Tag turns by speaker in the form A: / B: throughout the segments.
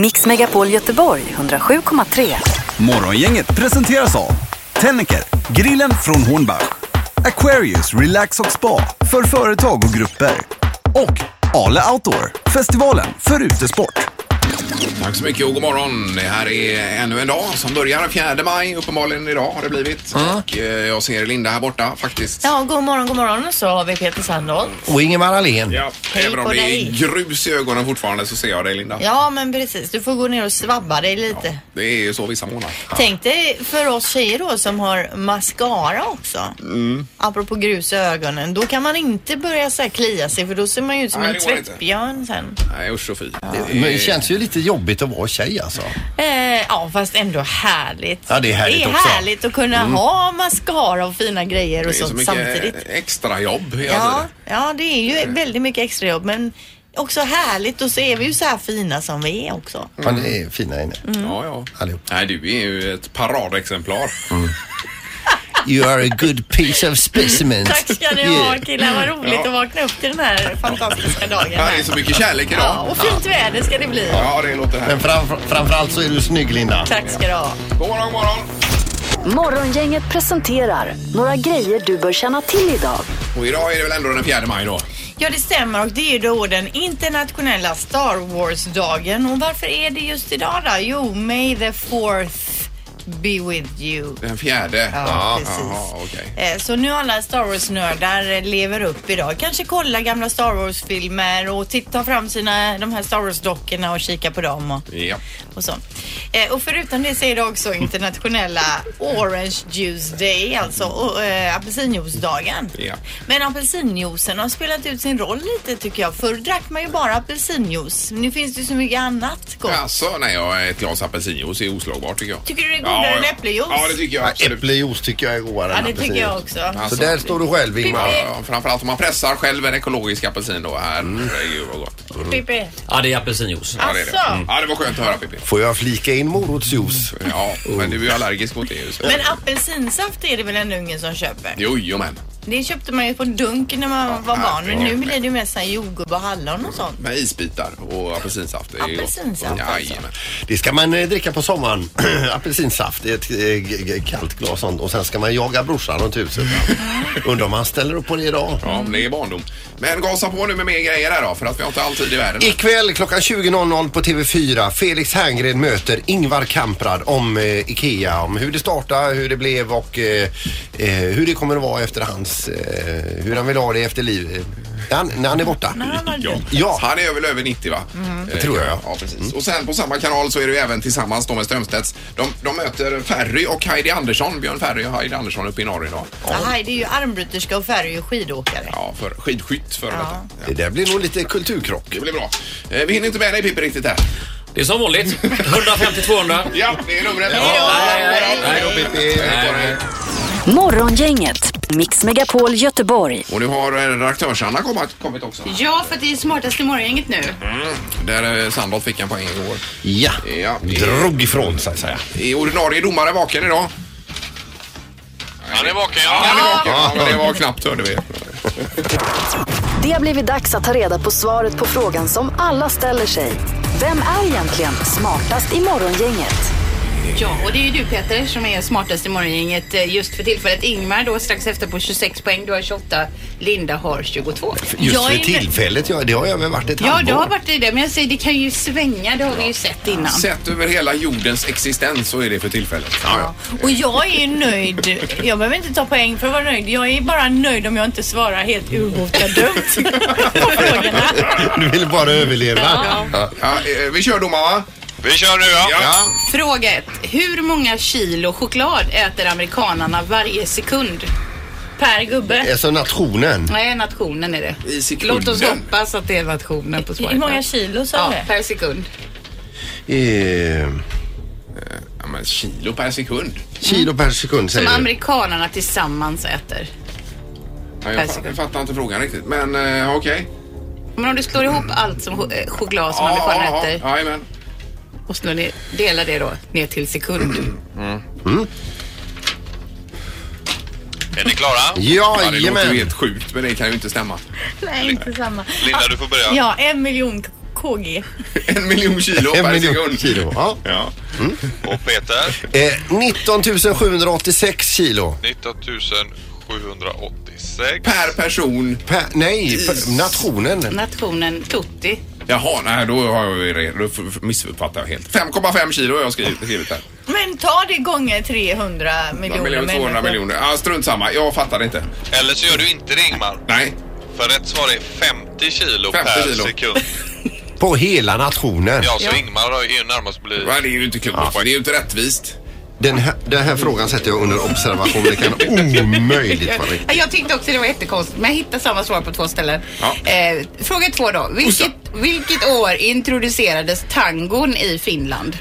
A: Mix Megapol Göteborg 107,3.
B: Morgongänget presenteras av Tennecker, grillen från Hornbach Aquarius Relax och Spa för företag och grupper och Ale Outdoor, festivalen för utesport.
C: Tack så mycket och god morgon. Det här är ännu en dag som börjar 4 maj. Uppenbarligen idag har det blivit. Och eh, jag ser Linda här borta faktiskt.
D: Ja, god morgon, god morgon. Så har vi Peter Sandholm.
E: Och Ingemar Ahlén.
C: Ja,
D: Hej
C: Även om
D: på
C: det är
D: dig.
C: grus i ögonen fortfarande så ser jag dig Linda.
D: Ja, men precis. Du får gå ner och svabba dig lite.
C: Det är ju så vissa månader.
D: Tänk dig för oss tjejer då som har mascara också. Apropå grus i ögonen. Då kan man inte börja så här klia sig för då ser man ju ut som
C: Nej,
D: en
C: det går inte.
D: tvättbjörn sen.
C: Nej usch och fy.
E: Men det känns ju lite jobbigt att vara tjej alltså.
D: Eh, ja, fast ändå härligt.
E: Ja, det är härligt
D: det är
E: också.
D: härligt att kunna ha mascara och fina grejer
C: Det är
D: och
C: så
D: sånt
C: mycket eh,
D: samtidigt.
C: extra jobb hela
D: Ja,
C: tiden.
D: ja, det är ju väldigt mycket extrajobb men också härligt och så är vi ju så här fina som vi är också.
E: Men det
C: Mm.
E: är fina inne.
D: mm.
C: Ja, ja.
E: Allihop.
C: Nej, du är ju ett paradexemplar.
D: Mm.
E: You are a good piece of specimen.
D: Tack ska ni ha killar, vad roligt att vakna upp till den här fantastiska dagen.
C: Ja,
D: Här.
C: det är så mycket kärlek
D: Ja,
C: idag.
D: och fint väder ska det bli.
C: Ja, det låter här.
E: Men framför, framförallt så är du snygg Linda.
D: Tack ska du ha.
C: God morgon, god morgon.
A: Morgongänget presenterar några grejer du bör känna till idag.
C: Och idag är det väl ändå den 4 maj då?
D: Ja, det stämmer och det är ju då den internationella Star Wars-dagen. Och varför är det just idag då? Jo, May the fourth be with you.
C: Den fjärde?
D: Ja, precis.
C: Jaha, okej.
D: Eh, Så nu alla Star Wars-nördar eh, lever upp idag. Kanske kolla gamla Star Wars-filmer och titta fram sina, de här Star Wars-dockorna och kika på dem. Och.
C: Ja.
D: och sånt. Eh, och förutom det så är det också internationella Orange Juice Day, alltså och, eh, apelsinjuicedagen.
C: Ja.
D: Men apelsinjuicen har spelat ut sin roll lite tycker jag. Förr drack man ju bara apelsinjuice. Nu finns det ju så mycket annat gott.
C: Alltså, nej, jag, ett glas apelsinjuice är oslagbart tycker jag.
D: Tycker du det är godare
C: ja,
D: än
C: ja.
D: äppeljuice?
C: Ja, det tycker jag absolut.
E: Äpplejuice tycker jag är godare
D: Ja,
E: än
D: det tycker jag
E: apelsinjuice.
D: också.
E: Så där står du själv Ingmar.
C: Ja, framförallt om man pressar själv en ekologisk apelsin då. Herregud vad gott.
D: Pippi.
F: Ja, det är apelsinjuice.
C: Ja, det, är det.
D: Asså.
C: Mm. ja, det var skönt att höra Pippi.
E: Får jag flika in morotsjuice?
C: Ja, men du är ju allergisk mot det ju. så-
D: Men apelsinsaft är det väl ändå ingen som köper?
C: Jo, jo, men.
D: Det köpte man ju på dunk när man var barn. Men nu blir det ju mest så här jordgubb och hallon och sånt.
C: Med isbitar och apelsinsaft. Det är ju gott.
D: Apelsinsaft alltså.
C: Jajamän.
E: Det ska man eh, dricka på sommaren. Apelsinsaft i ett eh, g- g- kallt glas sånt. och sen ska man jaga brorsan runt huset.
D: Mm.
E: Undrar om han ställer upp på det idag.
C: Ja, men det är barndom. Men gasa på nu med mer grejer här då, för att vi har inte all tid i världen.
E: Ikväll klockan 20.00 på TV4. Felix Herngren möter Ingvar Kamprad om eh, IKEA. Om hur det startade, hur det blev och eh, eh, hur det kommer att vara efter hans... Eh, hur han vill ha det efter liv. När han, när han är borta.
C: Ja.
E: Ja.
C: Han är väl över 90 va? Det
E: tror jag, ja.
C: ja precis. Och sen på samma kanal så är det ju även tillsammans då med Strömstedts. De, de möter Ferry och Heidi Andersson, Björn Ferry och Heidi Andersson uppe i norr idag.
D: Ja. Heidi är ju armbryterska och Ferry är ju skidåkare.
C: Ja, för skidskytt för detta.
E: Det där blir nog lite kulturkrock.
C: Det blir bra. Eh, Vi hinner inte med dig Pippi riktigt här.
F: Det är som vanligt. 150-200.
C: Ja, det är numret.
F: Nej då, Pippi. Nej, nej.
A: Morgongänget, Mix Megapol Göteborg.
C: Och nu har eh, redaktörs-Anna kommit- kommit också.
G: Ja, för att det är smartaste morgongänget nu.
E: Mm.
C: Där eh, Sandholt fick en poäng igår.
E: Ja.
C: Ja.
E: Drog ifrån sig, säger jag.
C: Är ordinarie domare vaken idag?
H: Han är vaken, ja.
C: Han är vaken. Ja, men det var knappt hörde vi.
A: Det har blivit dags att ta reda på svaret på frågan som alla ställer sig. Vem är egentligen smartast i morgongänget?
G: Ja, och det är ju du Peter som är smartast i morgongänget eh, just för tillfället. Ingmar då strax efter på 26 poäng, du har 28. Linda har 22.
E: Just
G: Jag
E: för
G: är med-
E: tillfället, ja, det har jag väl varit ett
G: Ja,
E: halvår.
G: du har varit i det, men jag säger det kan ju svänga, det har vi ju sett innan.
C: Sett över hela jordens existens så är det för tillfället. Ja,
D: Och jag är nöjd. Jag behöver inte ta poäng för att vara nöjd. Jag är bara nöjd om jag inte svarar helt urbota dumt på frågorna.
E: Du vill bara överleva.
C: ja. eh, vi kör domaren va?
H: Vi kör nu, ja.
G: Fråga 1. Hur många kilo choklad äter amerikanarna varje sekund? Per gubbe?
E: Alltså nationen.
G: Nej, nationen är det.
C: I sekunden.
G: Låt oss hoppas att det är nationen på svaret.
D: Hur många kilo sa
G: Ja,
D: du?
G: per sekund.
E: Eh,
C: Ja, men kilo per sekund.
E: kilo per sekund,
G: Som
E: säger du.
G: amerikanarna tillsammans äter.
C: Ja,
G: Per
C: jag, fatt,
G: sekund.
C: jag fattar inte frågan riktigt. Men eh, okej.
G: Men om du slår ihop allt som cho- eh, choklad som
C: Ja,
G: amerikaner
C: ja, ja,
G: äter
C: jajamän.
G: och slår ner, delar det då ner till sekund.
H: Är ni klara?
E: Ja,
C: Ja, det låter ju
E: jajamän.
C: helt sjukt men det kan ju inte stämma.
D: Nej, inte samma.
H: Linda, du får börja.
D: Ja, en miljon k- KG.
C: En miljon kilo
E: En
C: per
E: miljon
C: sekund.
E: kilo, ja.
C: ja.
H: Och Peter?
E: Eh, 19 786 kilo.
H: 19 786.
C: Per person.
E: Per, nej, per, nationen.
G: Nationen Tutti.
C: Jaha, nej då har jag ju det. Då f- f- missuppfattar jag helt. 5,5 kilo har jag skrivit, skrivit här.
D: Men ta det gånger 300 miljoner
C: Miljon, 200
D: människor.
C: miljoner. Ah, strunt samma, jag fattar inte.
H: Eller så gör du inte det Ingmar.
C: Nej,
H: För rätt svar är 50 kilo
C: 50
H: per
C: kilo.
H: sekund.
E: På hela nationen.
H: Ja, så Ingmar har ju närmast blivit...
C: Va, det är ju inte klokt. Det är ju inte rättvist.
E: Den, här, den här frågan sätter jag under observation. Det kan omöjligt vara riktigt.
G: Ja, Jag tyckte också det var jättekonstigt, men jag hittade samma svar på två ställen.
C: Ja.
G: Eh, fråga två då. Vilket, vilket år introducerades tangon i Finland?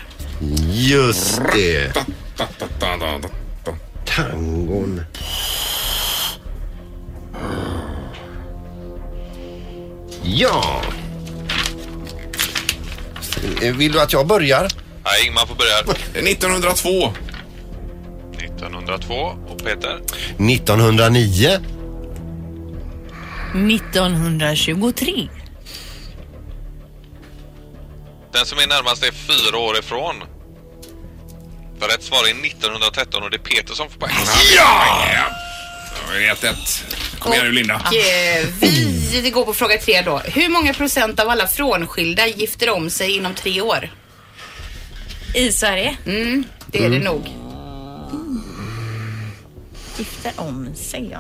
E: Just det.
C: Da, da, da, da, da, da, da.
E: Tangon. Ja. Eh, Vill du att jag börjar?
H: Nej, Ingmar får börja.
C: 1902.
H: 1902. Och Peter?
E: 1909.
D: 1923.
H: Den som är närmast är fyra år ifrån. För rätt svar är 1913 och det är Peter som får poäng.
C: Ja! Ja, det är 1-1. Kom igen nu Linda.
G: Och, eh, vi går på fråga tre då. Hur många procent av alla frånskilda gifter om sig inom tre år? Mm,
I: I Sverige.
G: Det är det nog.
D: Gifter om sig, ja.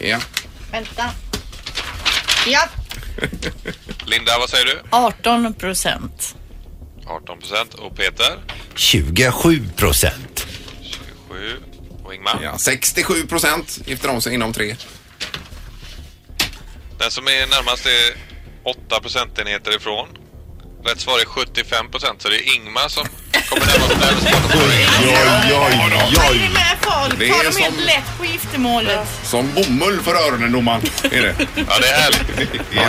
C: Ja.
D: Vänta. Ja,
H: Linda, vad säger du?
D: 18 procent.
H: 18 procent. Och Peter?
E: 27 procent.
H: 27. Och Ingmar?
C: ja. 67 procent gifter om sig inom tre.
H: Den som är närmast är 8 procentenheter ifrån. Rätt svar är 75 procent, så det är Ingmar som kommer närmast. närmast
E: Oj, oj,
D: Vad är det med folk?
C: Det är
D: Tar de
C: som-
D: helt lätt på giftermålet?
C: Som bomull för öronen domaren. Är det?
H: Ja, det är härligt.
C: Ja.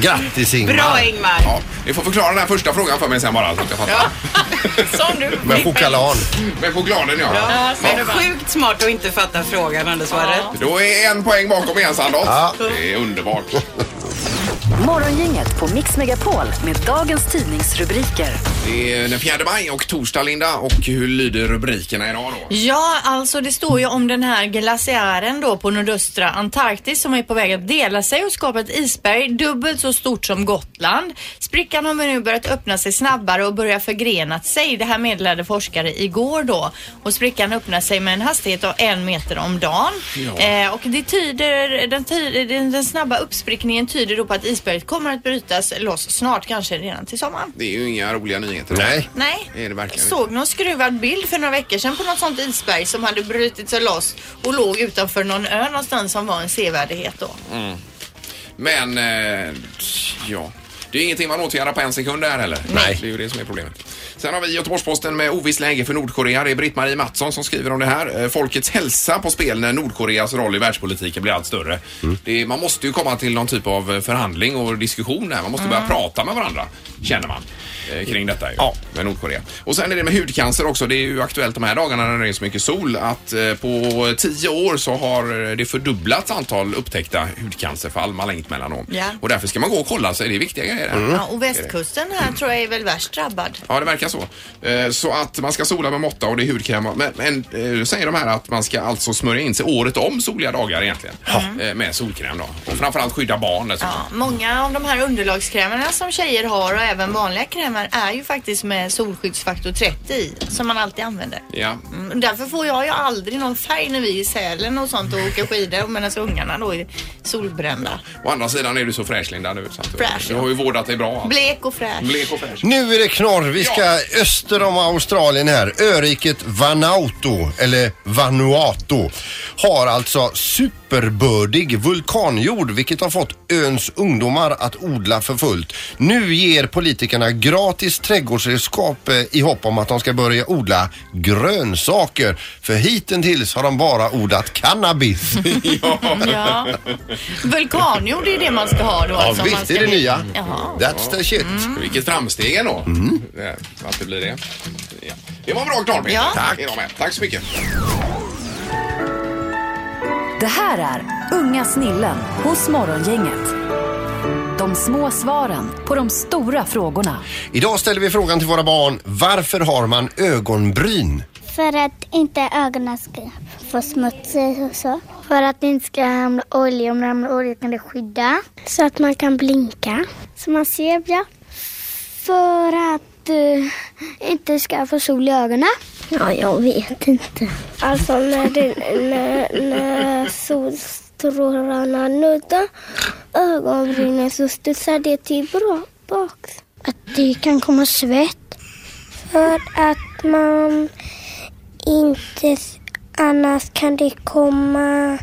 E: Grattis Ingmar.
G: Bra Ingmar.
C: ja. Ni får förklara den här första frågan för mig sen bara så att jag fattar.
D: Som du
E: Med chokladan.
C: Med chokladen ja.
G: Ja,
D: ser du bara.
G: Sjukt smart att inte fatta frågan Anders var det.
C: Då är en poäng bakom igen Sandholt.
E: Ja.
C: Det är underbart.
A: Morgongänget på Mix Megapol med dagens tidningsrubriker.
C: Det är den 4 maj och torsdag Linda och hur lyder rubrikerna idag då?
D: Ja, alltså det står ju om den här glaciären då på nordöstra Antarktis som är på väg att dela sig och skapa ett isberg dubbelt så stort som Gotland. Sprickan har nu börjat öppna sig snabbare och börjar förgrenat sig. Det här meddelade forskare igår då. Och sprickan öppnar sig med en hastighet av en meter om dagen. Eh, och det tyder, den, ty- den, den snabba uppsprickningen tyder då på att isberget kommer att brytas loss snart, kanske redan till sommaren.
C: Det är ju inga roliga nyheter.
E: Nej.
D: Nej.
C: Det är det verkligen.
D: Såg någon skruvad bild för några veckor sedan på något sånt isberg som hade brutit sig loss och låg utanför någon ö någonstans som var en sevärdhet då.
C: Mm. Men, eh, ja. Det är ingenting man åtgärdar på en sekund där heller.
E: Nej.
C: Det är ju det som är problemet. Sen har vi Göteborgs-Posten med ovisst läge för Nordkorea. Det är Britt-Marie Mattsson som skriver om det här. Eh, Folkets hälsa på spel när Nordkoreas roll i världspolitiken blir allt större. Det är, man måste ju komma till någon typ av eh, förhandling och diskussion här. Man måste börja prata med varandra, känner man. eh, Kring detta ju, Mm. ja. med Nordkorea. Och sen är det med hudcancer också. Det är ju aktuellt de här dagarna när det är så mycket sol att eh, på tio år så har eh, det fördubblats antal upptäckta hudcancerfall, malignt melanom.
D: Ja.
C: Och därför ska man gå och kolla sig. Det är viktiga grejer. här.
D: Ja, och västkusten här tror jag är väl värst drabbad.
C: Ja, det verkar så. Eh, Så att man ska sola med måtta och det är hudkräm. Men, men eh, säger de här att man ska alltså smörja in sig året om soliga dagar egentligen. Eh, Med solkräm då. Och framförallt skydda barn dessutom.
D: Ja, många av de här underlagskrämerna som tjejer har och även vanliga krämer är ju faktiskt med solskyddsfaktor 30 i som man alltid använder.
C: Ja.
D: Mm, Därför får jag ju aldrig någon färg när vi är i Sälen och sånt och åker skidor medan ungarna då är solbrända.
C: Å andra sidan är du så fräsch Linda nu. Så att du,
D: Fräsch,
C: du
D: ja.
C: har ju vårdat dig bra. alltså.
D: Blek och fräsch.
C: Blek och fräsch.
E: Nu är det knorr. Vi ska
C: Ja.
E: öster om Australien här. Öriket Vanuatu, eller Vanuatu, har alltså superbördig vulkanjord vilket har fått öns ungdomar att odla för fullt. Nu ger politikerna gratis trädgårdsredskap eh, i hopp om att de ska börja odla grönsaker. För hittills har de bara odlat cannabis.
D: Ja. Vulkanjord är det man ska ha då.
E: ja,
D: alltså, om man
E: visst
D: ska
E: är det
D: bli-
E: nya. Mm.
D: Jaha. Mm.
E: That's the shit.
C: Vilket framsteg ändå. Det- Att det blir det. Ja. Det var bra klart Peter.
D: Ja.
C: Tack. Idag med. Tack så mycket.
A: Det här är Unga snillen hos Morgongänget. De små svaren på de stora frågorna.
E: Idag ställer vi frågan till våra barn. Varför har man ögonbryn?
J: För att inte ögonen ska få smuts i och så. För att det inte ska hamna olja. Om det hamnar olja kan det skydda. Så att man kan blinka. Så man ser bra. För att du inte ska få sol i ögonen. Ja, jag vet inte. Alltså när, det, när, när solstrålarna nuddar ögonbrynen så studsar det tillbaka. Att det kan komma svett. För att man inte, annars kan det komma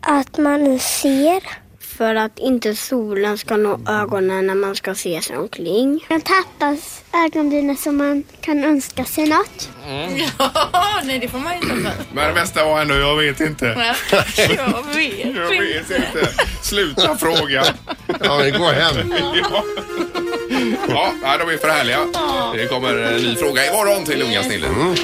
J: att man ser.
K: För att inte solen ska nå ögonen när man ska se sig omkring.
J: Man tappar ögonbrynen så man kan önska sig något.
D: Ja, nej det får man ju inte.
C: Men det bästa var ändå, jag vet inte.
D: Nej, Jag vet.
C: Jag vet inte. Sluta fråga.
E: Ja, men gå hem.
C: Ja. Ja, nej, de är för härliga. Det kommer en ny fråga imorgon till unga snillen.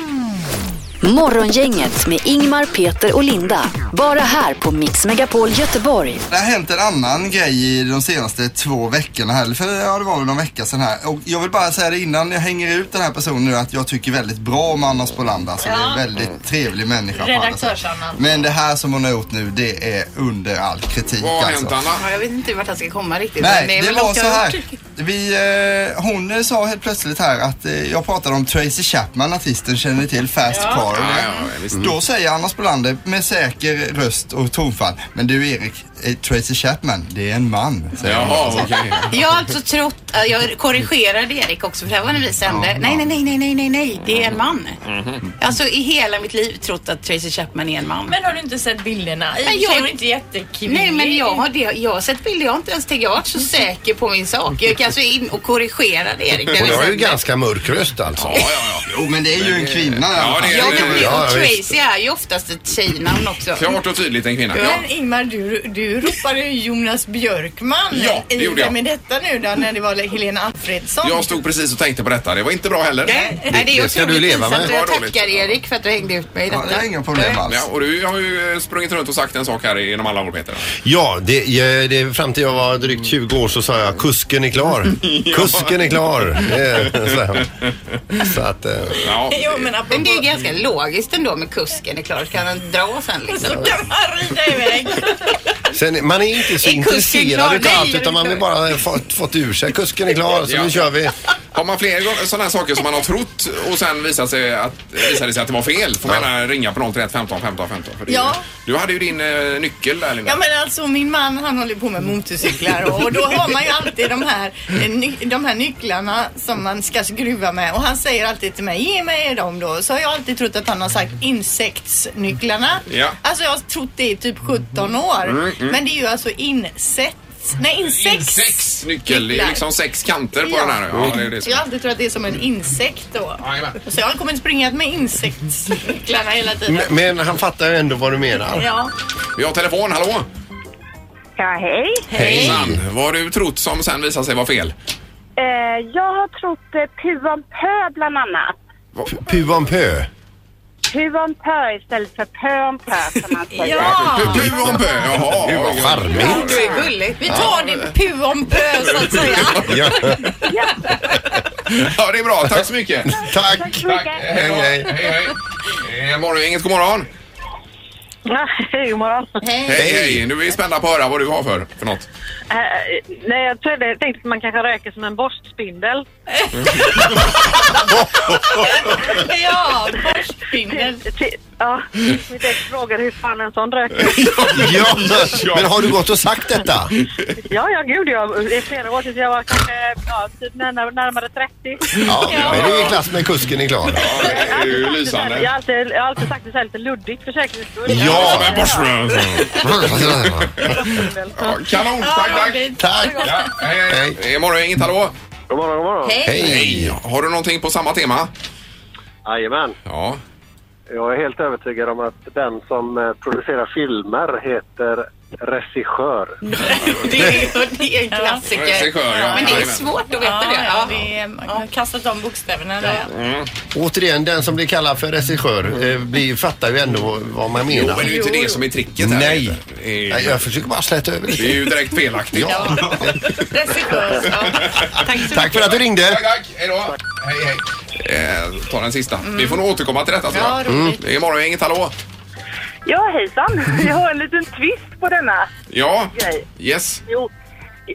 A: Morgongänget med Ingmar, Peter och Linda. Bara här på Mix Megapol Göteborg.
L: Det har hänt en annan grej i de senaste två veckorna här. För ja, det var väl någon vecka sedan här. Och jag vill bara säga det innan jag hänger ut den här personen nu att jag tycker väldigt bra om Anna Spolander. Alltså, Det är en väldigt trevlig människa. på alla sätt.
D: Redaktörs-Anna.
L: Men det här som hon har gjort nu, det är under all kritik
C: Vad har
L: alltså.
C: hänt Anna?
G: Ja, jag vet inte vart han ska komma riktigt. men
L: Nej,
G: är
L: det,
G: väl
L: var
G: något jag
L: så
G: har
L: här.
G: hört.
L: Vi, eh, hon eh, sa helt plötsligt här att eh, jag pratade om Tracy Chapman, artisten, känner ni till? Fast Car.
C: Ja, ja, visst.
L: Då säger Anna Spolander med säker röst och tonfall. Men du Erik, eh, Tracy Chapman, det är en man. säger hon.
C: Jaha, okej.
G: Jag har alltså trott, äh, jag korrigerade Erik också för det här var när vi sände. nej, nej, nej, nej, nej, nej, nej, det är en man. Alltså i hela mitt liv trott att Tracy Chapman är en man.
D: Men har du inte sett bilderna? I och för
G: jag-
D: sig är hon inte jättekul.
G: Nej men jag har, det, jag har sett bilder, jag har inte ens tänkt, jag har varit så säker på min sak. Jag gick alltså in och korrigerade Erik. när vi
E: Hon har ju
G: sände.
E: ganska mörk röst alltså.
C: Ja, ja, ja.
L: Jo men det är ju en kvinna i alla
C: Ja,
L: fall.
C: det
G: Ja,
C: är
G: men det,
C: det.
E: Ja,
G: och
E: visst.
G: Tracy är ju oftast ett tjejnamn också.
C: Klart och tydligt en kvinna. Ja.
D: Men Ingmar, du, du ropade ju Jonas Björkman
C: Ja, det
D: i
C: gjorde jag.
D: Vem är detta nu då när det var Helena Alfredsson.
C: Jag stod precis och tänkte på detta. Det var inte bra heller.
G: Nej, nej, det är
E: det ska
G: otroligt
E: du leva
G: pinsamt
E: med.
G: och Jag
C: Vad roligt.
G: tackar Erik för att du hängde ut mig i
L: Ja, det
G: detta.
L: är inga problem alls.
D: Alltså.
C: Ja, och du har ju eh, sprungit runt och sagt en sak här genom alla år Peter.
E: Ja, det, jag- det, fram till jag var drygt 20 år så sa jag kusken är klar. Kusken är klar. Det- så här. Så att, eh,
C: Ja,
D: Jo men
G: Men det är
D: apropå...
G: ganska logiskt ändå med kusken är klar. Kan han dra sen liksom?
D: Så kan man rida iväg.
E: sen, man är inte så
G: Är kusken
E: intresserad
G: klar?
E: utav
G: Nej,
E: allt
G: är du
E: utan man vill
G: klar?
E: bara fått, fått ur sig kusken är klar så
C: Ja.
E: nu kör vi.
C: Har man fler sådana här saker som man har trott och sen visar sig att, visar det sig att det var fel får man gärna ringa på 031 15 15 15. För det är
D: Ja.
C: ju, du hade ju din eh, nyckel där Linda.
D: Ja men alltså min man han håller på med motorcyklar och, och då har man ju alltid de här, eh, ny, de här nycklarna som man ska skruva med och han säger alltid till mig ge mig dem då. Så har jag alltid trott att han har sagt insektsnycklarna.
C: Ja. Mm,
D: Alltså jag har trott det i typ 17 år. Men det är ju alltså insett. Nej insekts.
C: Sex nyckel, det är
D: nycklar.
C: liksom sex kanter på
D: Ja.
C: den här. Ja, det är det
D: Så
C: som...
D: jag har alltid trott att det är som en insekt då.
C: Jajamän.
D: Så jag har kommit springa med insektsnycklarna hela tiden.
E: Men, men han fattar ju ändå vad du menar.
D: Ja.
C: Vi har telefon, hallå!
M: Ja, hej.
E: Hej!
C: Hejsan! Vad har du trott som sen visar sig vara fel?
M: Eh, jag har trott eh, puampö bland annat.
E: Pu om pö.
M: Puampö istället för pöampö som man säger.
D: Ja.
C: Pu pu om pö, jaha.
E: Gud vad charmigt.
G: Du är gullig.
D: Vi tar det pu om pö så att säga.
E: Ja.
C: Ja, det är bra. Tack så mycket.
M: Tack
E: Tack!
M: så mycket.
C: Hej, då. hej.
E: Hej,
C: hej. Eh, Morgon, inget god morgon.
M: Ja, hej, god morgon.
C: Hej, hej. Nu är vi spända på att höra vad du har för, för något.
M: Eh, nej, jag trodde, jag tänkte att man kanske röker som en borstspindel.
D: Ja, borstbindel.
M: Till- till- Ja, mitt ex frågade hur fan en sån röker.
E: Ja, men har du gått och sagt detta?
M: Ja, ja, gud ja. Det är flera år tills jag var kanske ja, typ närmare, närmare 30.
E: Ja, men det är i klass med kusken är klar.
C: Ja, det är ju
M: Jag
C: lysande.
M: har alltid, jag har alltid sagt det så här lite luddigt för säkerhets skull.
E: Ja,
C: men borstbindel. Ja, Kanon, tack, tack.
E: Tack!
C: Ja, hej, hej. Det är morgon, inget hallå.
N: God morgon, god morgon.
E: Hej!
C: Hej. Har du någonting på samma tema?
N: Jajamän.
C: Ja.
N: Jag är helt övertygad om att den som eh, producerar filmer heter Regissör.
G: Det är, det är en klassiker.
N: Regissör, ja.
G: Men det är
N: Jajamän.
G: svårt att veta
D: Ja,
G: det.
D: ja, det är, man har kastat om bokstäverna där.
E: Återigen, den som blir kallad för regissör eh, blir, fattar ju ändå vad man menar.
C: Jo, men det är ju inte det som är tricket här.
E: Nej.
C: Det
E: Nej, jag försöker bara släta över
C: Det är ju direkt felaktigt.
E: Ja.
D: Regissör.
E: Tack för att du ringde.
C: Tack, tack. Hej då. Hej, hej. Eh, ta den sista. Vi får nog återkomma till detta tror
M: Ja,
C: jag. Mm.
M: roligt.
C: Det är morgongänget, hallå.
M: Ja, hejsan. Jag har en liten twist på denna
C: Ja.
M: grej.
C: Yes.
M: Jo,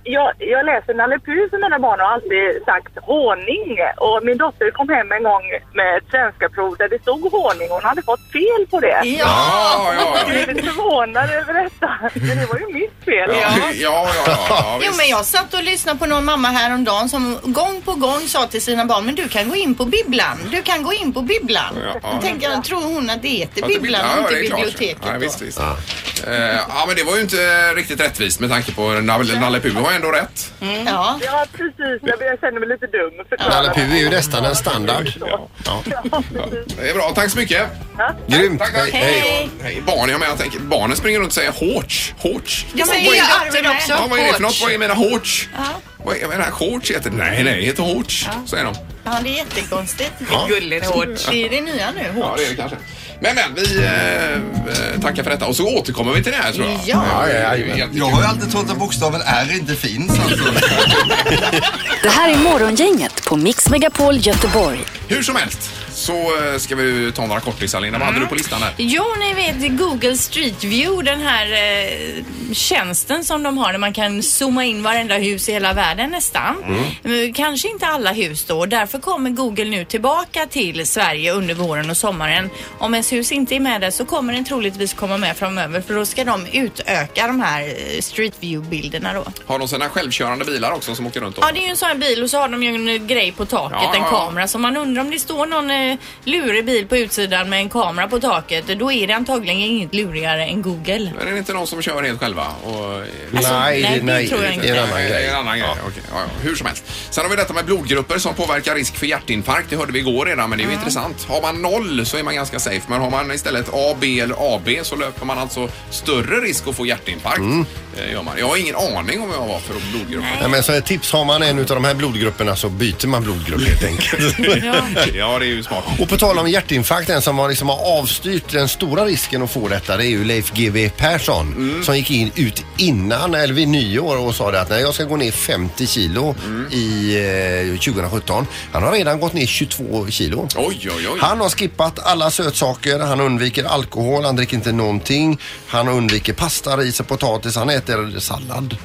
M: jag, jag läser Nalle Puh för mina barn och har alltid sagt håning. Och min dotter kom hem en gång med ett svenska prov där det stod håning och hon hade fått fel på det.
C: Ja, ja, ja.
M: Jag blev lite förvånad över detta. Men det var ju mitt fel.
C: Ja, ja, ja, ja
D: Jo
C: visst.
D: men jag satt och lyssnade på någon mamma häromdagen som gång på gång sa till sina barn men du kan gå in på bibblan, du kan gå in på bibblan.
C: Ja, ja.
D: Då tänker jag, tror hon att det heter
C: Ja,
D: bibblan och inte
C: det är klart.
D: biblioteket
C: Nej,
D: då?
C: visst, visst. Ja. ja, men det var ju inte riktigt rättvist med tanke på Nalle Nalle Puh har ändå rätt.
D: Ja.
M: ja, precis. Jag jag känner mig lite dum. För
E: Nalle Puh är ju nästan en standard. Ja.
C: Det är bra, tack så mycket.
E: Grymt.
C: Tack, tack.
E: Hej.
D: Hej.
C: Hej. Barn, jag menar, jag tänker, barnen springer runt och säger hårts. Hårts.
D: Ja, men
C: Vad
D: det
C: är-
D: gör Arvid också.
C: Ja, vad är det för något?
D: Hårts.
C: Vad är mina hårts?
D: Ja.
C: Vad är jag menar, shorts heter det. Nej, nej, det heter hårts, säger de.
D: Ja, det är jättekonstigt.
C: Ja.
G: Gulligt hårt.
D: Det är det nya nu, hårt.
C: Ja, det är det kanske. Men, men, vi eh, tackar för detta och så återkommer vi till det här tror jag.
L: Ja,
C: ja, ja.
L: Jag har ju alltid trott att bokstaven R inte finns alltså.
A: Det här är Morgongänget på Mix Megapol Göteborg.
C: Hur som helst så eh, ska vi ju ta några kortisar, Linda. Vad hade
D: Mm.
C: du på listan där?
D: Jo, ni vet Google Street View, den här eh, tjänsten som de har där man kan zooma in varenda hus i hela världen nästan. Men Kanske inte alla hus då. Därför kommer Google nu tillbaka till Sverige under våren och sommaren. Om ens hus inte är med där så kommer den troligtvis komma med framöver för då ska de utöka de här eh, Street View-bilderna då.
C: Har de sina självkörande bilar också som åker runt? då?
D: Ja, det är ju en sån här bil och så har de ju en eh, grej på taket,
C: Ja,
D: en
C: ja, ja.
D: kamera. Så man undrar om det står någon eh, lurig bil på utsidan med en kamera på taket. Då är det antagligen inget lurigare än Google.
C: Men är det inte någon som kör helt själva? Och,
E: Alltså, nej,
D: nej, det nej, tror jag
E: inte. det är en annan
C: Nej, det är
E: grej.
C: en annan grej. Okej, ja, ja, hur som helst. Sen har vi detta med blodgrupper som påverkar risk för hjärtinfarkt. Det hörde vi igår redan, men det är ju intressant. Har man noll så är man ganska safe, men har man istället A, B eller AB så löper man alltså större risk att få hjärtinfarkt.
E: Mm.
C: Eh, Gör man. Jag har ingen aning om vad jag var för blodgrupp.
E: Nej, men så ett tips, har man en av de här blodgrupperna så byter man blodgrupp helt enkelt.
C: ja, det är ju smart.
E: Och på tal om hjärtinfarkt, den som har, liksom har avstyrt den stora risken att få detta, det är ju Leif GW Persson som gick in, ut innan, eller vid nyår och sa det att nej, jag ska gå ner 50 kilo i eh, 2017. Han har redan gått ner 22 kilo.
C: Oj, oj, oj.
E: Han har skippat alla sötsaker, han undviker alkohol, han dricker inte någonting. Han undviker pasta, ris och potatis, han äter sallad.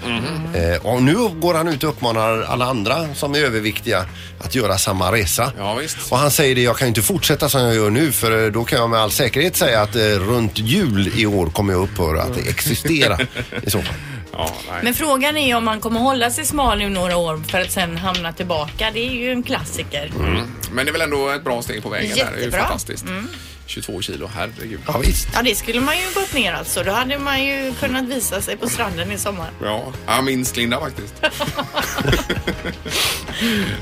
E: Eh, och nu går han ut och uppmanar alla andra som är överviktiga att göra samma resa.
C: Ja, visst.
E: Och han säger det, jag kan ju inte fortsätta som jag gör nu för eh, då kan jag med all säkerhet säga att eh, runt jul i år kommer jag upphöra att existera i så fall.
C: Ja, nej.
D: Men frågan är om man kommer hålla sig smal nu några år för att sen hamna tillbaka. Det är ju en klassiker.
C: Mm. Men det är väl ändå ett bra steg på vägen. Där. Det är ju
D: Jättebra.
C: fantastiskt. 22 kilo, herregud.
E: Ja, visst.
D: Ja, det skulle man ju gått ner alltså. Då hade man ju kunnat visa sig på stranden i sommar.
C: Ja, jag minns Linda faktiskt.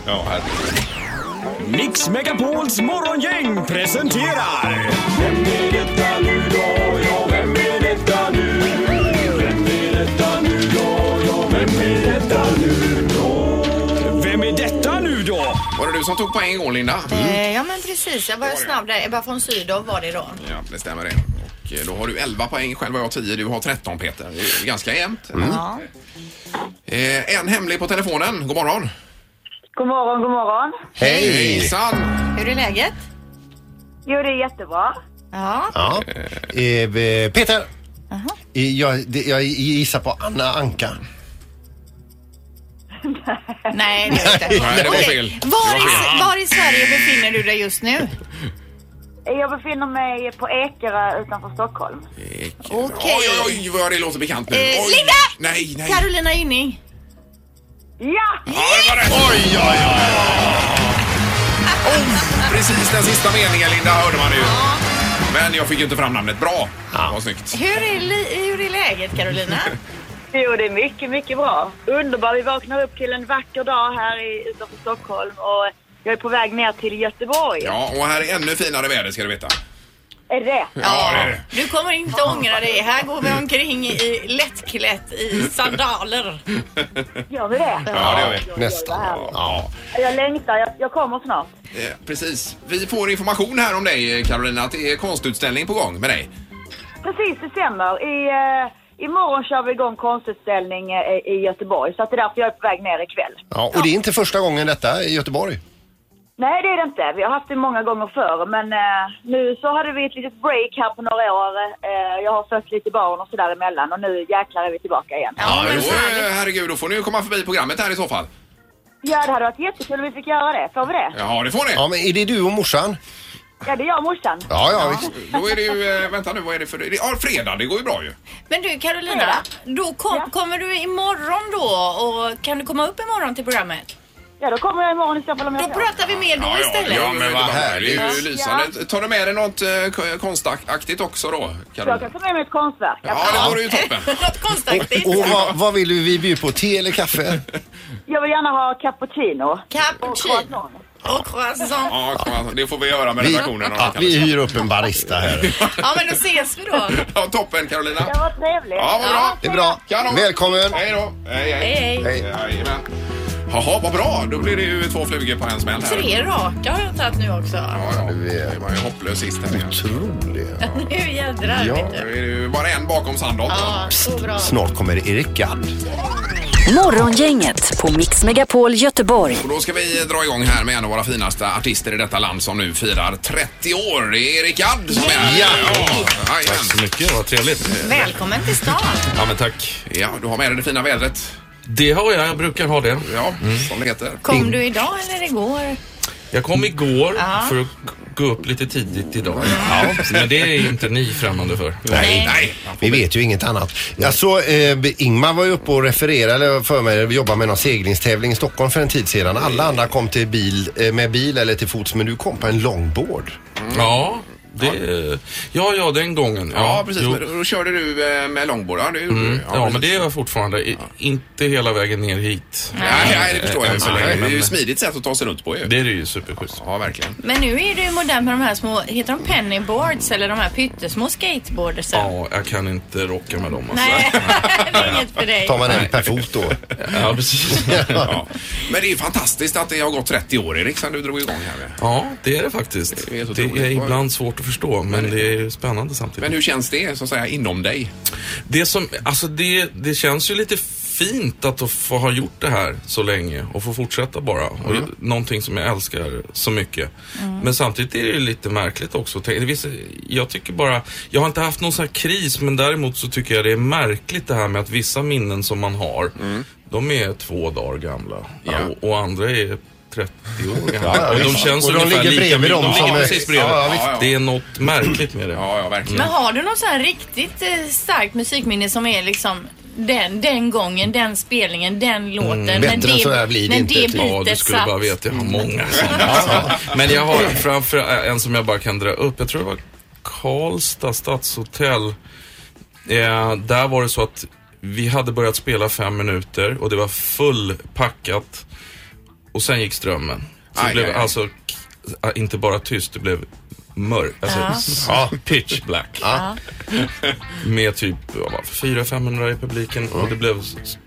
C: ja, herregud.
O: Mix Megapols morgongäng presenterar... Vem är detta nu då? Ja, vem är detta nu? Vem är detta nu då? Ja, vem är detta nu då? Vem är detta nu då?
C: Var det du som tog poäng igår, Linda?
D: Eh, ja, men precis. Jag var ju snabb där. Ebba von Sydow var det då.
C: Ja, det stämmer det. Och eh, då har du 11 poäng, själv har jag 10, du har 13 Peter. Det är ganska jämnt.
D: Mm.
C: Mm.
D: Ja.
C: Eh, en hemlig på telefonen. God morgon.
M: God morgon, god morgon.
E: Hej!
C: Hejsan!
D: Hur är läget?
M: Jo, det är jättebra.
D: Ja.
E: Ja. Eh, eh, Peter! Eh, Jag, det- jag gissar på Anna Anka.
D: Nej, det är inte.
C: Nej, det var
D: Okej.
C: fel.
D: Var
C: Det var
D: i,
C: fel.
D: var i Sverige befinner du dig just nu?
M: Jag befinner mig på Ekerö utanför Stockholm.
D: Okej.
C: Oj, oj, oj, vad det låter bekant nu.
D: Eh,
C: Oj.
D: Linda!
C: Nej, nej.
D: Carolina Gynning.
M: Ja!
C: Ja, det var rätt. Oj, oj, oj, oj. Oh, precis den sista meningen, Linda, hörde man ju. Men jag fick ju inte fram namnet. Bra! Vad snyggt.
D: Hur är, li- hur är läget Carolina?
M: Jo, det är mycket, mycket bra. Underbart. Vi vaknar upp till en vacker dag här i, utanför Stockholm och jag är på väg ner till Göteborg.
C: Ja, och här är ännu finare väder ska du veta.
M: Är det det?
C: Ja, det är det.
D: Du kommer inte ångra dig. Här går vi omkring i lättklätt i sandaler.
M: Gör vi det?
C: Ja, det gör vi.
E: Nästan.
C: Ja.
M: Jag längtar. Jag, jag kommer snart.
C: Eh, Precis. Vi får information här om dig, eh, Carolina, att det är konstutställning på gång med dig.
M: Precis, det stämmer. I, eh, imorgon kör vi igång konstutställning eh, i Göteborg. Så att det är därför jag är på väg ner ikväll.
E: Ja, och det är inte första gången detta i Göteborg.
M: Nej, det är det inte. Vi har haft det många gånger förr. Men eh, nu så hade vi ett litet break här på några år. Eh, jag har fött lite barn och sådär emellan. Och nu jäklar är vi tillbaka igen.
C: Ja, men då, eh, herregud, då får ni ju komma förbi programmet här i så fall.
M: Ja, det hade varit jättekul om vi fick göra det. Får vi det?
C: Ja, det får ni.
E: Ja, men är det du och morsan?
M: Ja, det är jag och morsan.
E: Ja, ja, visst.
C: Då är det ju, eh, vänta nu, vad är det för... Ja, fredag, det går ju bra ju.
D: Men du Carolina, då kom, kommer du imorgon då och kan du komma upp imorgon till programmet?
M: Ja, då kommer jag imorgon i så fall om jag
D: Då pratar vi mer då istället.
C: ja, men vad härligt. Det är ju
M: Ja.
C: lysande. Tar du med dig något eh, k- konstaktigt också då,
M: Jag
C: Carolina?
M: kan ta med mig ett konstverk.
C: Ja, det vore ju toppen.
D: Något konstaktigt.
E: Och vad, vad vill du vi bjuder på? Te eller kaffe?
M: Jag vill gärna ha cappuccino.
D: Cappuccino. Och croissant.
C: Ja, kom, alltså, det får vi göra med
E: Vi,
C: redaktionen. om
E: ja,
C: det
E: vi
C: kallas.
E: hyr upp en barista här.
D: Ja, men då ses vi då.
C: Ja, toppen Carolina.
M: Det var trevligt.
C: Ja, vad bra.
E: Det är bra.
C: Kanon.
E: Välkommen.
C: Hej då. Hej,
D: Hej, hej.
C: Jajamän. Jaha, vad bra. Då blir det ju två flugor på en smäll här.
D: Tre raka har jag tagit nu också.
C: Ja, ja. Det var ju hopplös sist här.
E: Otrolig.
D: Nu jädrar.
E: Ja.
D: vet
C: Nu
D: du.
C: är det ju bara en bakom Sandholt.
D: Ja, så bra.
E: Snart kommer Erik Gadd.
A: Morgongänget på Mix Megapol Göteborg.
C: Och då ska vi dra igång här med en av våra finaste artister i detta land som nu firar 30 år. Det är Erik Gadd som är här.
F: Ja.
C: Ja, jajamän.
P: Så mycket, vad trevligt.
D: Välkommen till stan.
P: Ja, men tack.
C: ja, du har med dig det fina vädret.
P: Det har jag, jag brukar ha det.
C: Ja,
P: Mm.
C: som det heter.
D: Kom du idag eller igår?
P: Jag kom igår
D: Ja.
P: för att gå upp lite tidigt idag. Men det är inte ni främmande för.
E: Nej. Vi vet ju inget annat. Alltså, eh, Ingmar var ju uppe och refererade för mig, vi jobbar med någon seglingstävling i Stockholm för en tid sedan. Alla andra kom till bil, eh, med bil eller till fots, men du kom på en longboard.
P: Ja, det, ja, ja, den gången.
C: Ja, precis.
P: jo.
C: Men då körde du eh, med långbord. Ja, det gjorde
P: Mm,
C: du.
P: ja, men
C: precis.
P: det gör jag fortfarande. I, Inte hela vägen ner hit.
C: Nej, nej, det förstår jag.
P: Än så länge,
C: Nej, det är ju
P: men-
C: ett smidigt sätt att ta sig runt på ju.
P: Det är ju superschysst.
C: Ja, verkligen.
D: Men nu är du ju modern med de här små, heter de pennyboards eller de här pyttesmå skateboardsen?
P: Ja, jag kan inte rocka med dem. Alltså.
D: Nej, det är inget för dig.
E: Tar man en per fot då?
P: Ja, precis.
C: Ja. Men det är ju fantastiskt att det har gått 30 år, Erik, sedan du drog igång här.
P: Ja, det är det faktiskt.
C: Det är så
P: Det
C: otroligt.
P: är ibland svårt att förstå, men det är spännande samtidigt.
C: Men hur känns det, så att säga, inom dig?
P: Det som, alltså det, det känns ju lite fint att få ha gjort det här så länge och få fortsätta bara. Och
E: Mm.
P: ju- Någonting som jag älskar så mycket. Men samtidigt är det ju lite märkligt också. Tänk- Det visst, jag tycker bara, jag har inte haft någon sån här kris men däremot så tycker jag det är märkligt det här med att vissa minnen som man har,
E: Mm.
P: de är två dagar gamla och, och andra är 30 år gamla.
E: Ja, ja,
P: och de
E: visst.
P: känns
E: Och de
P: ungefär
E: ligger
P: lika
E: bredvid dem
P: mycket.
E: som
P: De ligger
E: är-
P: precis bredvid.
E: Ja, ja, visst.
P: Det är något märkligt med det.
C: Ja, ja, verkligen.
D: Men har du något så här riktigt eh, starkt musikminne som är liksom den, den gången, den spelningen, den låten.
P: Mm, bättre
D: när
P: än
D: det,
P: så här blir det
D: när
P: inte,
D: Det
P: typ.
D: bitet
P: Ja, du skulle bara
D: satt.
P: veta, jag har många sådana. Men jag har framför en som jag bara kan dra upp. Jag tror det var Karlstad stadshotell. Eh, där var det så att vi hade börjat spela fem minuter och det var fullpackat. Och sen gick strömmen. Så
C: Aj,
P: det blev
C: aj, aj.
P: alltså k- inte bara tyst, det blev mörkt. Alltså,
D: Ja.
P: ja. pitch black.
D: Ja.
P: Med typ 400-500 i publiken och det blev s-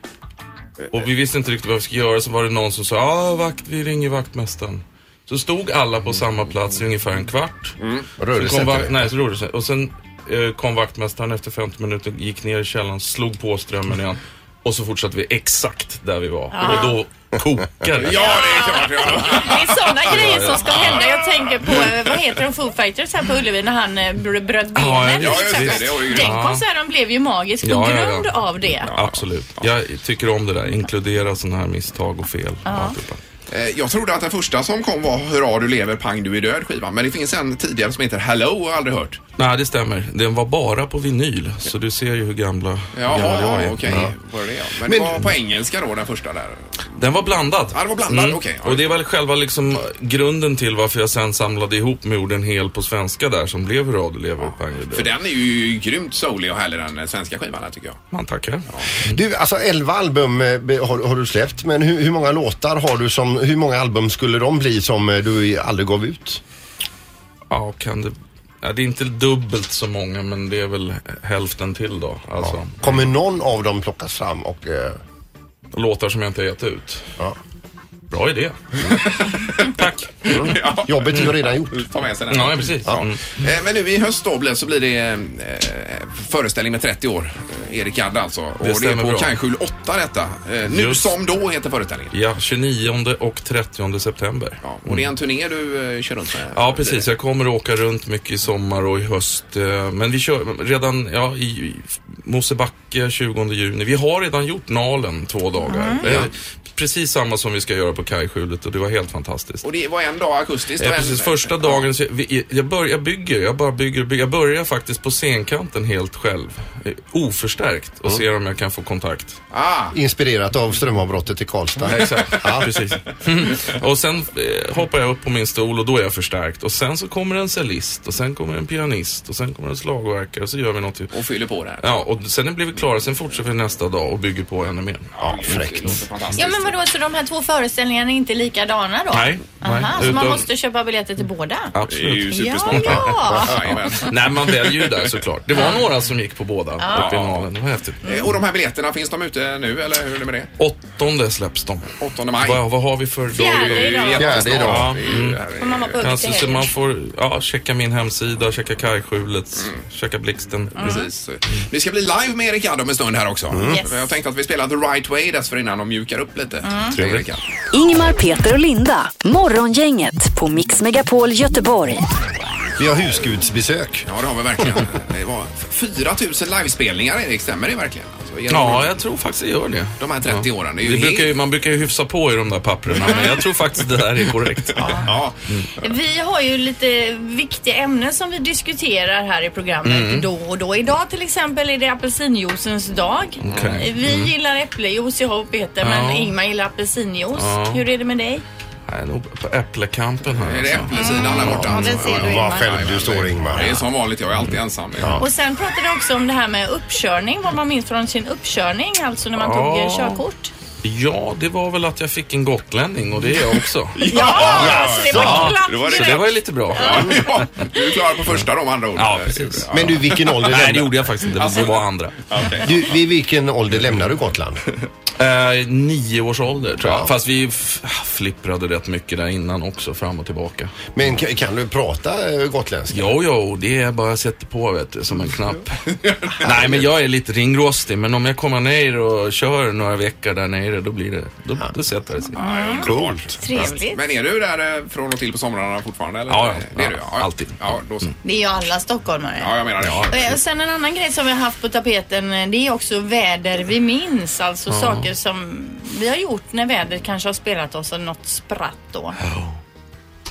P: och vi visste inte riktigt vad vi skulle göra så var det någon som sa ja ah, vakt, vi ringer vaktmästaren. Så stod alla på samma plats i ungefär en kvart.
C: Mm.
E: Rörde sig
P: så kom
E: inte
P: vak-
E: det?
P: Nej, så rörde det sig. Och sen eh, kom vaktmästaren efter 50 minuter, gick ner i källaren, slog på strömmen igen. Och så fortsatte vi exakt där vi var.
D: Ja.
P: Och då kokade det.
C: Ja, det är klart! Ja.
D: Det är sådana grejer som ska hända. Jag tänker på, eh, vad heter de, Foo Fighters här på Ullevi när han eh, br- bröt benen.
P: Ja, ja,
D: till
P: ja, just
D: exempel.
P: det. Det var ju grymt.
D: Den konserten blev ju magisk på
P: Ja, ja, ja.
D: grund av det.
P: Absolut. Jag tycker om det där. Inkludera sådana här misstag och fel.
D: Ja.
P: Alltihopa.
C: Eh, Jag trodde att den första som kom var Hurra du lever, pang du är död skivan. Men det finns en tidigare som heter Hello och jag har aldrig hört.
P: Nej, det stämmer. Den var bara på vinyl. Så du ser ju hur gamla,
C: Ja,
P: gammal jag
C: ja,
P: är.
C: okej.
P: Ja.
C: Var det det, ja. Men,
P: Men-
C: det var på engelska då, den första där.
P: Den var blandad. Mm.
C: Ja, den var blandad, okej, ja.
P: Och det var väl själva liksom grunden till varför jag sen samlade ihop med orden hel på svenska där som blev radiolever och Bangladesh.
C: För den är ju grymt soulig och härlig den eh, svenska skivan här tycker jag.
P: Man tackar.
E: Du, alltså 11 album eh, be- har, har du släppt, men hur, hur många låtar har du som, hur många album skulle de bli som eh, du aldrig gav ut?
P: Ja, kan det... Ja, det är inte dubbelt så många men det är väl hälften till då. Alltså.
E: Kommer någon av dem plockas fram och... Eh...
P: Låtar som jag inte har gett ut. Bra idé. Tack.
E: Jobbet är ju redan gjort.
C: Ta med sig den.
P: Ja, precis. Mm.
C: Ja. Eh, Men nu i höst då blir, så blir det eh, föreställning med 30 år. Eh, Erik Gadd alltså. Och det, är
P: stämmer
C: på
P: bra.
C: Kajskjul 8 detta. Eh, Nu
P: Just.
C: som då heter föreställningen.
P: Ja, 29 och 30 september.
C: Och det är en turné du eh, kör runt med?
P: Mm. Ja, precis. Jag kommer att åka runt mycket i sommar och i höst. eh, Men vi kör redan ja, i i Mosebacke 20 juni. Vi har redan gjort Nalen två dagar.
C: Mm.
P: Det är
C: Ja.
P: Precis samma som vi ska göra på kajskjulet och det var helt fantastiskt.
C: Och det var en dag akustiskt och
P: Ja,
C: en...
P: precis. Första dagen, så vi, jag, bör, jag bygger, jag bara bygger, och bygger. Jag börjar faktiskt på scenkanten helt själv. eh, Oförstärkt och ser om jag kan få kontakt.
C: Ah.
E: Inspirerat av strömavbrottet i Karlstad.
P: Exakt,
E: Ja.
P: precis. och sen eh, hoppar jag upp på min stol och då är jag förstärkt. Och sen så kommer en cellist och sen kommer en pianist och sen kommer en slagverkare och så gör vi något till.
C: Och fyller på där.
P: Ja, och sen blir vi klara. Sen fortsätter vi nästa dag och bygger på ännu mer.
E: Ja, fräckt.
D: Ja men vadå, så de här två föreställningarna är inte likadana då?
P: Nej, nej.
D: Aha, så man
P: Utan-
D: måste köpa biljetter till båda?
P: Absolut.
D: Det är ju supersmart. Ja, ja.
C: Jajamän.
P: Nej, man väljer ju där såklart. Det var några som gick på båda
C: Ja.
P: uppe i Nalen. Det var häftigt.
C: Eh, Och de här biljetterna, finns de ute nu eller hur är det med det?
P: Åttonde släpps de.
C: 8 maj.
P: Vad, vad har vi för
C: Fjärde idag. Fjärde idag.
P: Ja,
C: Det är ju
P: mm.
C: det här är-
D: Får man vara på Ulf
P: Alltså,
D: till
P: så
D: helgen?
P: man får ja, checka min hemsida, checka kajskjulet, checka blixten.
C: Mm. Precis. Vi ska bli live med Erik Gadd om en stund här också.
D: Yes.
C: Jag tänkte att vi spelar The Right Way dessförinnan och mjukar upp lite. Mm.
P: Trevligt.
A: Ingmar, Peter och Linda. Morgongänget på Mix Megapol Göteborg.
E: Vi har husgudsbesök.
C: Ja, det har vi verkligen. Det var 4 000 livespelningar, Erik. Stämmer det verkligen? Alltså, genom
P: Ja, jag tror faktiskt det gör det.
C: de här 30 åren. Det är ju
P: Vi
C: helt...
P: brukar ju, man brukar ju hyfsa på i de där papperna, men jag tror faktiskt det där är korrekt.
C: Ja.
D: Vi har ju lite viktiga ämnen som vi diskuterar här i programmet
P: Mm.
D: då och då. Idag till exempel är det apelsinjuicens dag. Eh,
P: Okej.
D: Vi
P: Mm.
D: gillar äpplejuice, jag och Peter,
P: Ja.
D: men Ingmar gillar apelsinjuice.
P: Ja.
D: Hur är det med dig?
P: Nej, nog på äpplekampen här. alltså.
C: Är det äpplesidan där borta?
D: Ja, det ser du, Ingmar. Vad själv
E: du står, Ingmar.
C: Det är som vanligt, jag är alltid ensam.
D: Och sen pratade vi också om det här med uppkörning, vad man minns från sin uppkörning, alltså när man
P: Ja.
D: tog eh, körkort.
P: Ja, det var väl att jag fick en gotlänning och det är jag också.
D: Ja, så det var klart
P: det var,
D: direkt.
P: så det var ju lite bra.
C: Ja, ja. Du är klar på första då med andra ord.
P: Ja, precis.
E: Men du, vilken ålder
P: Nej, det
E: lämnar-
P: gjorde jag faktiskt
C: Alltså-
P: inte. Det var andra.
E: Du, vid vilken ålder lämnar du Gotland?
P: Eh, nio års ålder tror jag.
E: Ja.
P: Fast vi f- ah, flipprade rätt mycket där innan också, fram och tillbaka.
E: Men kan, kan du prata eh, gotländska?
P: Jo, jo, det är bara jag sätter på vet du, som en knapp. Nej, men jag är lite ringrostig, men om jag kommer ner och kör några veckor där nere, då blir det, då, då sätter det sig.
C: Coolt.
D: Trevligt.
C: Men är du där eh, från och till på somrarna fortfarande? Eller?
P: Ja, ja.
C: Det är du, ja.
P: Alltid.
C: Ja, då så.
D: Det är ju alla stockholmare.
C: Ja, jag menar det.
D: Eh, Och sen en annan grej som vi har haft på tapeten eh, det är också väder vi minns. Alltså
P: Ja.
D: saker som vi har gjort när vädret kanske har spelat oss något spratt då.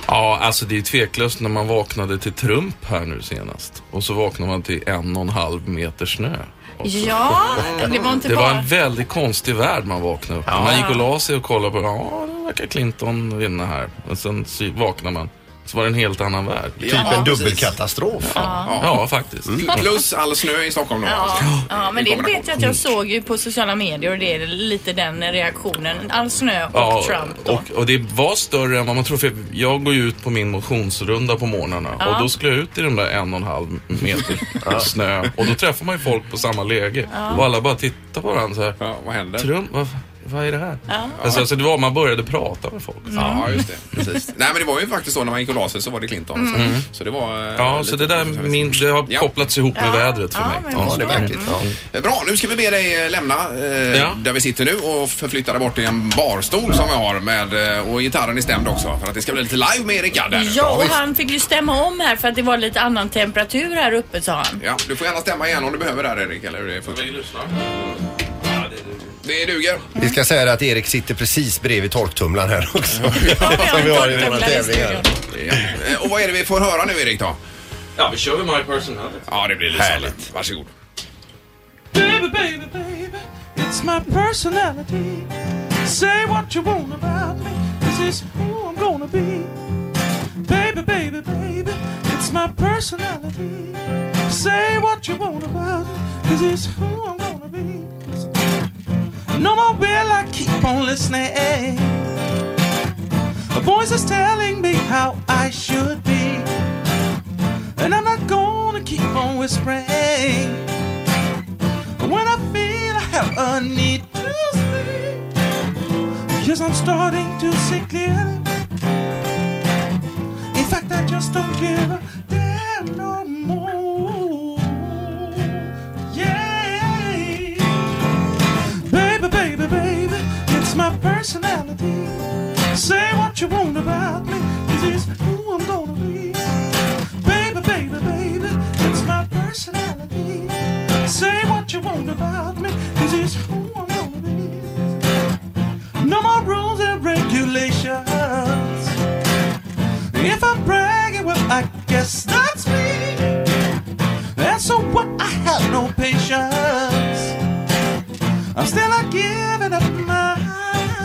P: Ja, alltså det är tveklöst när man vaknade till Trump här nu senast. Och så vaknar man till en och en halv meter snö. Och så-
D: Ja, det var inte
P: Det var
D: bara...
P: en väldigt konstig värld man vaknade upp i. Man gick och la sig och kollade på, ja, det verkar Clinton vinna här. Och sen sy- vaknar man. Så var det en helt annan värld.
E: Typ en dubbelkatastrof.
P: Ja, ja, faktiskt.
D: Mm.
C: Plus all snö i Stockholm då.
D: Ja,
C: alltså.
D: ja, men
C: I
D: det
C: kombination.
D: vet jag att jag såg ju på sociala medier och det är lite den reaktionen. All snö och
P: Ja,
D: Trump.
P: och, och det var större än vad man tror. För jag går ju ut på min motionsrunda på morgnarna
D: Ja.
P: och då skulle jag ut i den där en och en halv meter snö och då träffar man ju folk på samma läge
D: Ja.
P: och alla bara tittar på varandra så här.
C: Ja, vad händer?
P: Trump, vad, vad är det här?
D: Ja. Mm.
P: Alltså, alltså det var, man började prata med folk. Mm.
C: Ja, just det. Precis. Nej, men det var ju faktiskt så när man gick och la sig så var det Clinton. Så-
P: Mm.
C: Så det var... eh,
P: Ja,
C: lite-
P: så det där min, det har kopplats ihop med vädret för mig.
C: Ja, det är verkligt. Eh, Bra, nu ska vi be dig eh, lämna eh,
P: Ja.
C: där vi sitter nu och förflytta dig bort till en barstol som vi har med eh, och gitarren är stämd också för att det ska bli lite live med Erik Gadd här nu.
D: Ja, och han fick ju stämma om här för att det var lite annan temperatur här uppe sa han.
C: Ja, du får gärna stämma igen om du behöver där Erik, eller hur det funkar. Det duger.
E: Vi ska säga att Erik sitter precis bredvid torktumlaren här också. Som vi har i våra tävlingar.
C: Eh, Och vad är det vi får höra nu Erik då?
P: Ja, vi kör väl My Personality.
C: Ja, det blir lysande. Varsågod.
Q: Baby, baby, baby, it's my personality. Say what you want about me, this is who I'm gonna be. Baby, baby, baby, it's my personality. Say what you want about me, this is who I'm gonna be. No more will I keep on listening. A voice is telling me how I should be. And I'm not gonna keep on whispering. When I feel I have a need to speak, yes, I'm starting to see clearly. In fact, I just don't give a damn no more. Yeah. Baby, baby, baby, it's my personality. Say what you want about me, this is who I'm gonna be. Baby, baby, baby, it's my personality. Say what you want about me, this is who I'm gonna be. No more rules and regulations. If I'm bragging, well, I guess that's me. And so what? I have no patience. I'm still not giving up my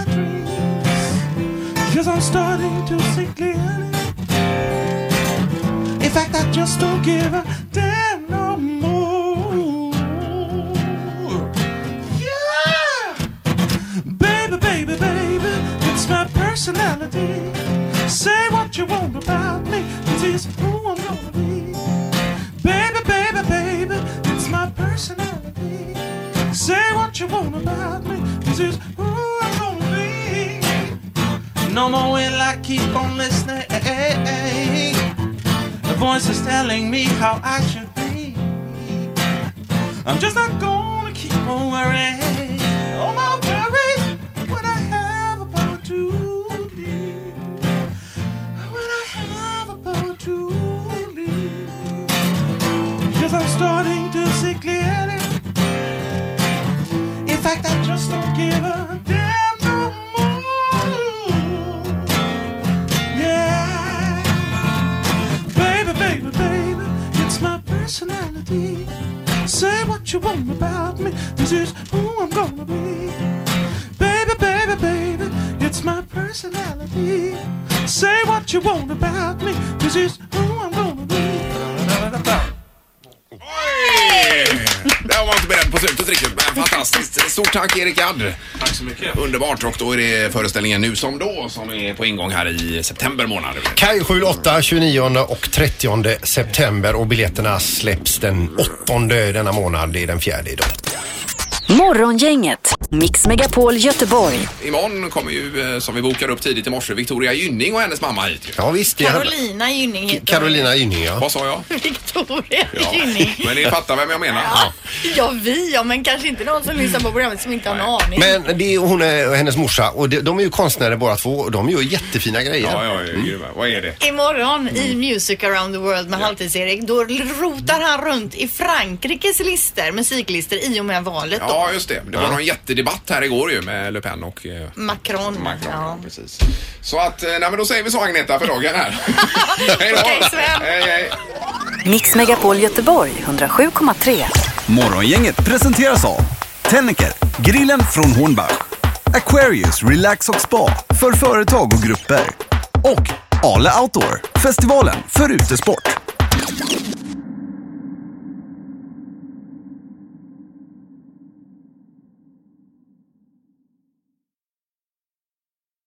Q: dreams. Cause I'm starting to see clearly. In fact, I just don't give a damn no more. Yeah! Baby, baby, baby, it's my personality. Say what you want about me, this is who I'm gonna be. Baby, baby, baby, it's my personality. Say what you want about me, this is who I'm gonna be. No more will I keep on listening. The voice is telling me how I should be. I'm just not gonna keep on worrying. Oh my worries, what I have about to leave. What I have about to leave. Cause I'm starting to see clearly. In fact, I just don't give a damn no more. Yeah. Baby, baby, baby, it's my personality. Say what you want about me, this is who I'm gonna be. Baby, baby, baby, it's my personality. Say what you want about me, this is who I'm gonna be.
C: Där var jag inte beredd på slutet riktigt, men fantastiskt. Stort tack Erik Gadd.
P: Tack så mycket.
C: Underbart och då är det föreställningen Nu som då som är på ingång här i september månad.
E: Kaj 78, 29 och 30 september och biljetterna släpps den 8 denna månad. Det är den fjärde idag.
A: Morgongänget, Mix Megapol Göteborg.
C: Imorgon kommer ju, eh, som vi bokade upp tidigt i morse, Victoria Gynning och hennes mamma hit.
E: Ja visst.
D: Carolina Gynning heter
E: Gynning ja.
C: Vad sa jag?
D: hon. Victoria Gynning.
C: Men ni fattar vem jag menar.
D: Ja, vi ja, men kanske inte någon som lyssnar på programmet som inte har en aning.
E: Men det är hon eh, och hennes morsa och de, de är ju konstnärer båda två och de gör jättefina grejer.
C: Ja, ja, ja grymma. Vad är det?
D: Imorgon
C: Mm.
D: i Music around the world med Halvtids-Erik, då rotar han runt i Frankrikes lister, musiklister i och med valet då.
C: Ja, just det. Det var
D: Ja.
C: någon jättedebatt här igår ju med Le Pen och... eh,
D: Macron.
C: Macron,
D: Ja.
C: precis. Så att, eh, nej men då säger vi så Agneta för dagen här. Hej då! Hej, hej.
A: Mix Megapol Göteborg 107,3.
B: Morgongänget presenteras av Tennicker, grillen från Hornbach, Aquarius Relax och Spa för företag och grupper och Ale Outdoor, festivalen för utesport.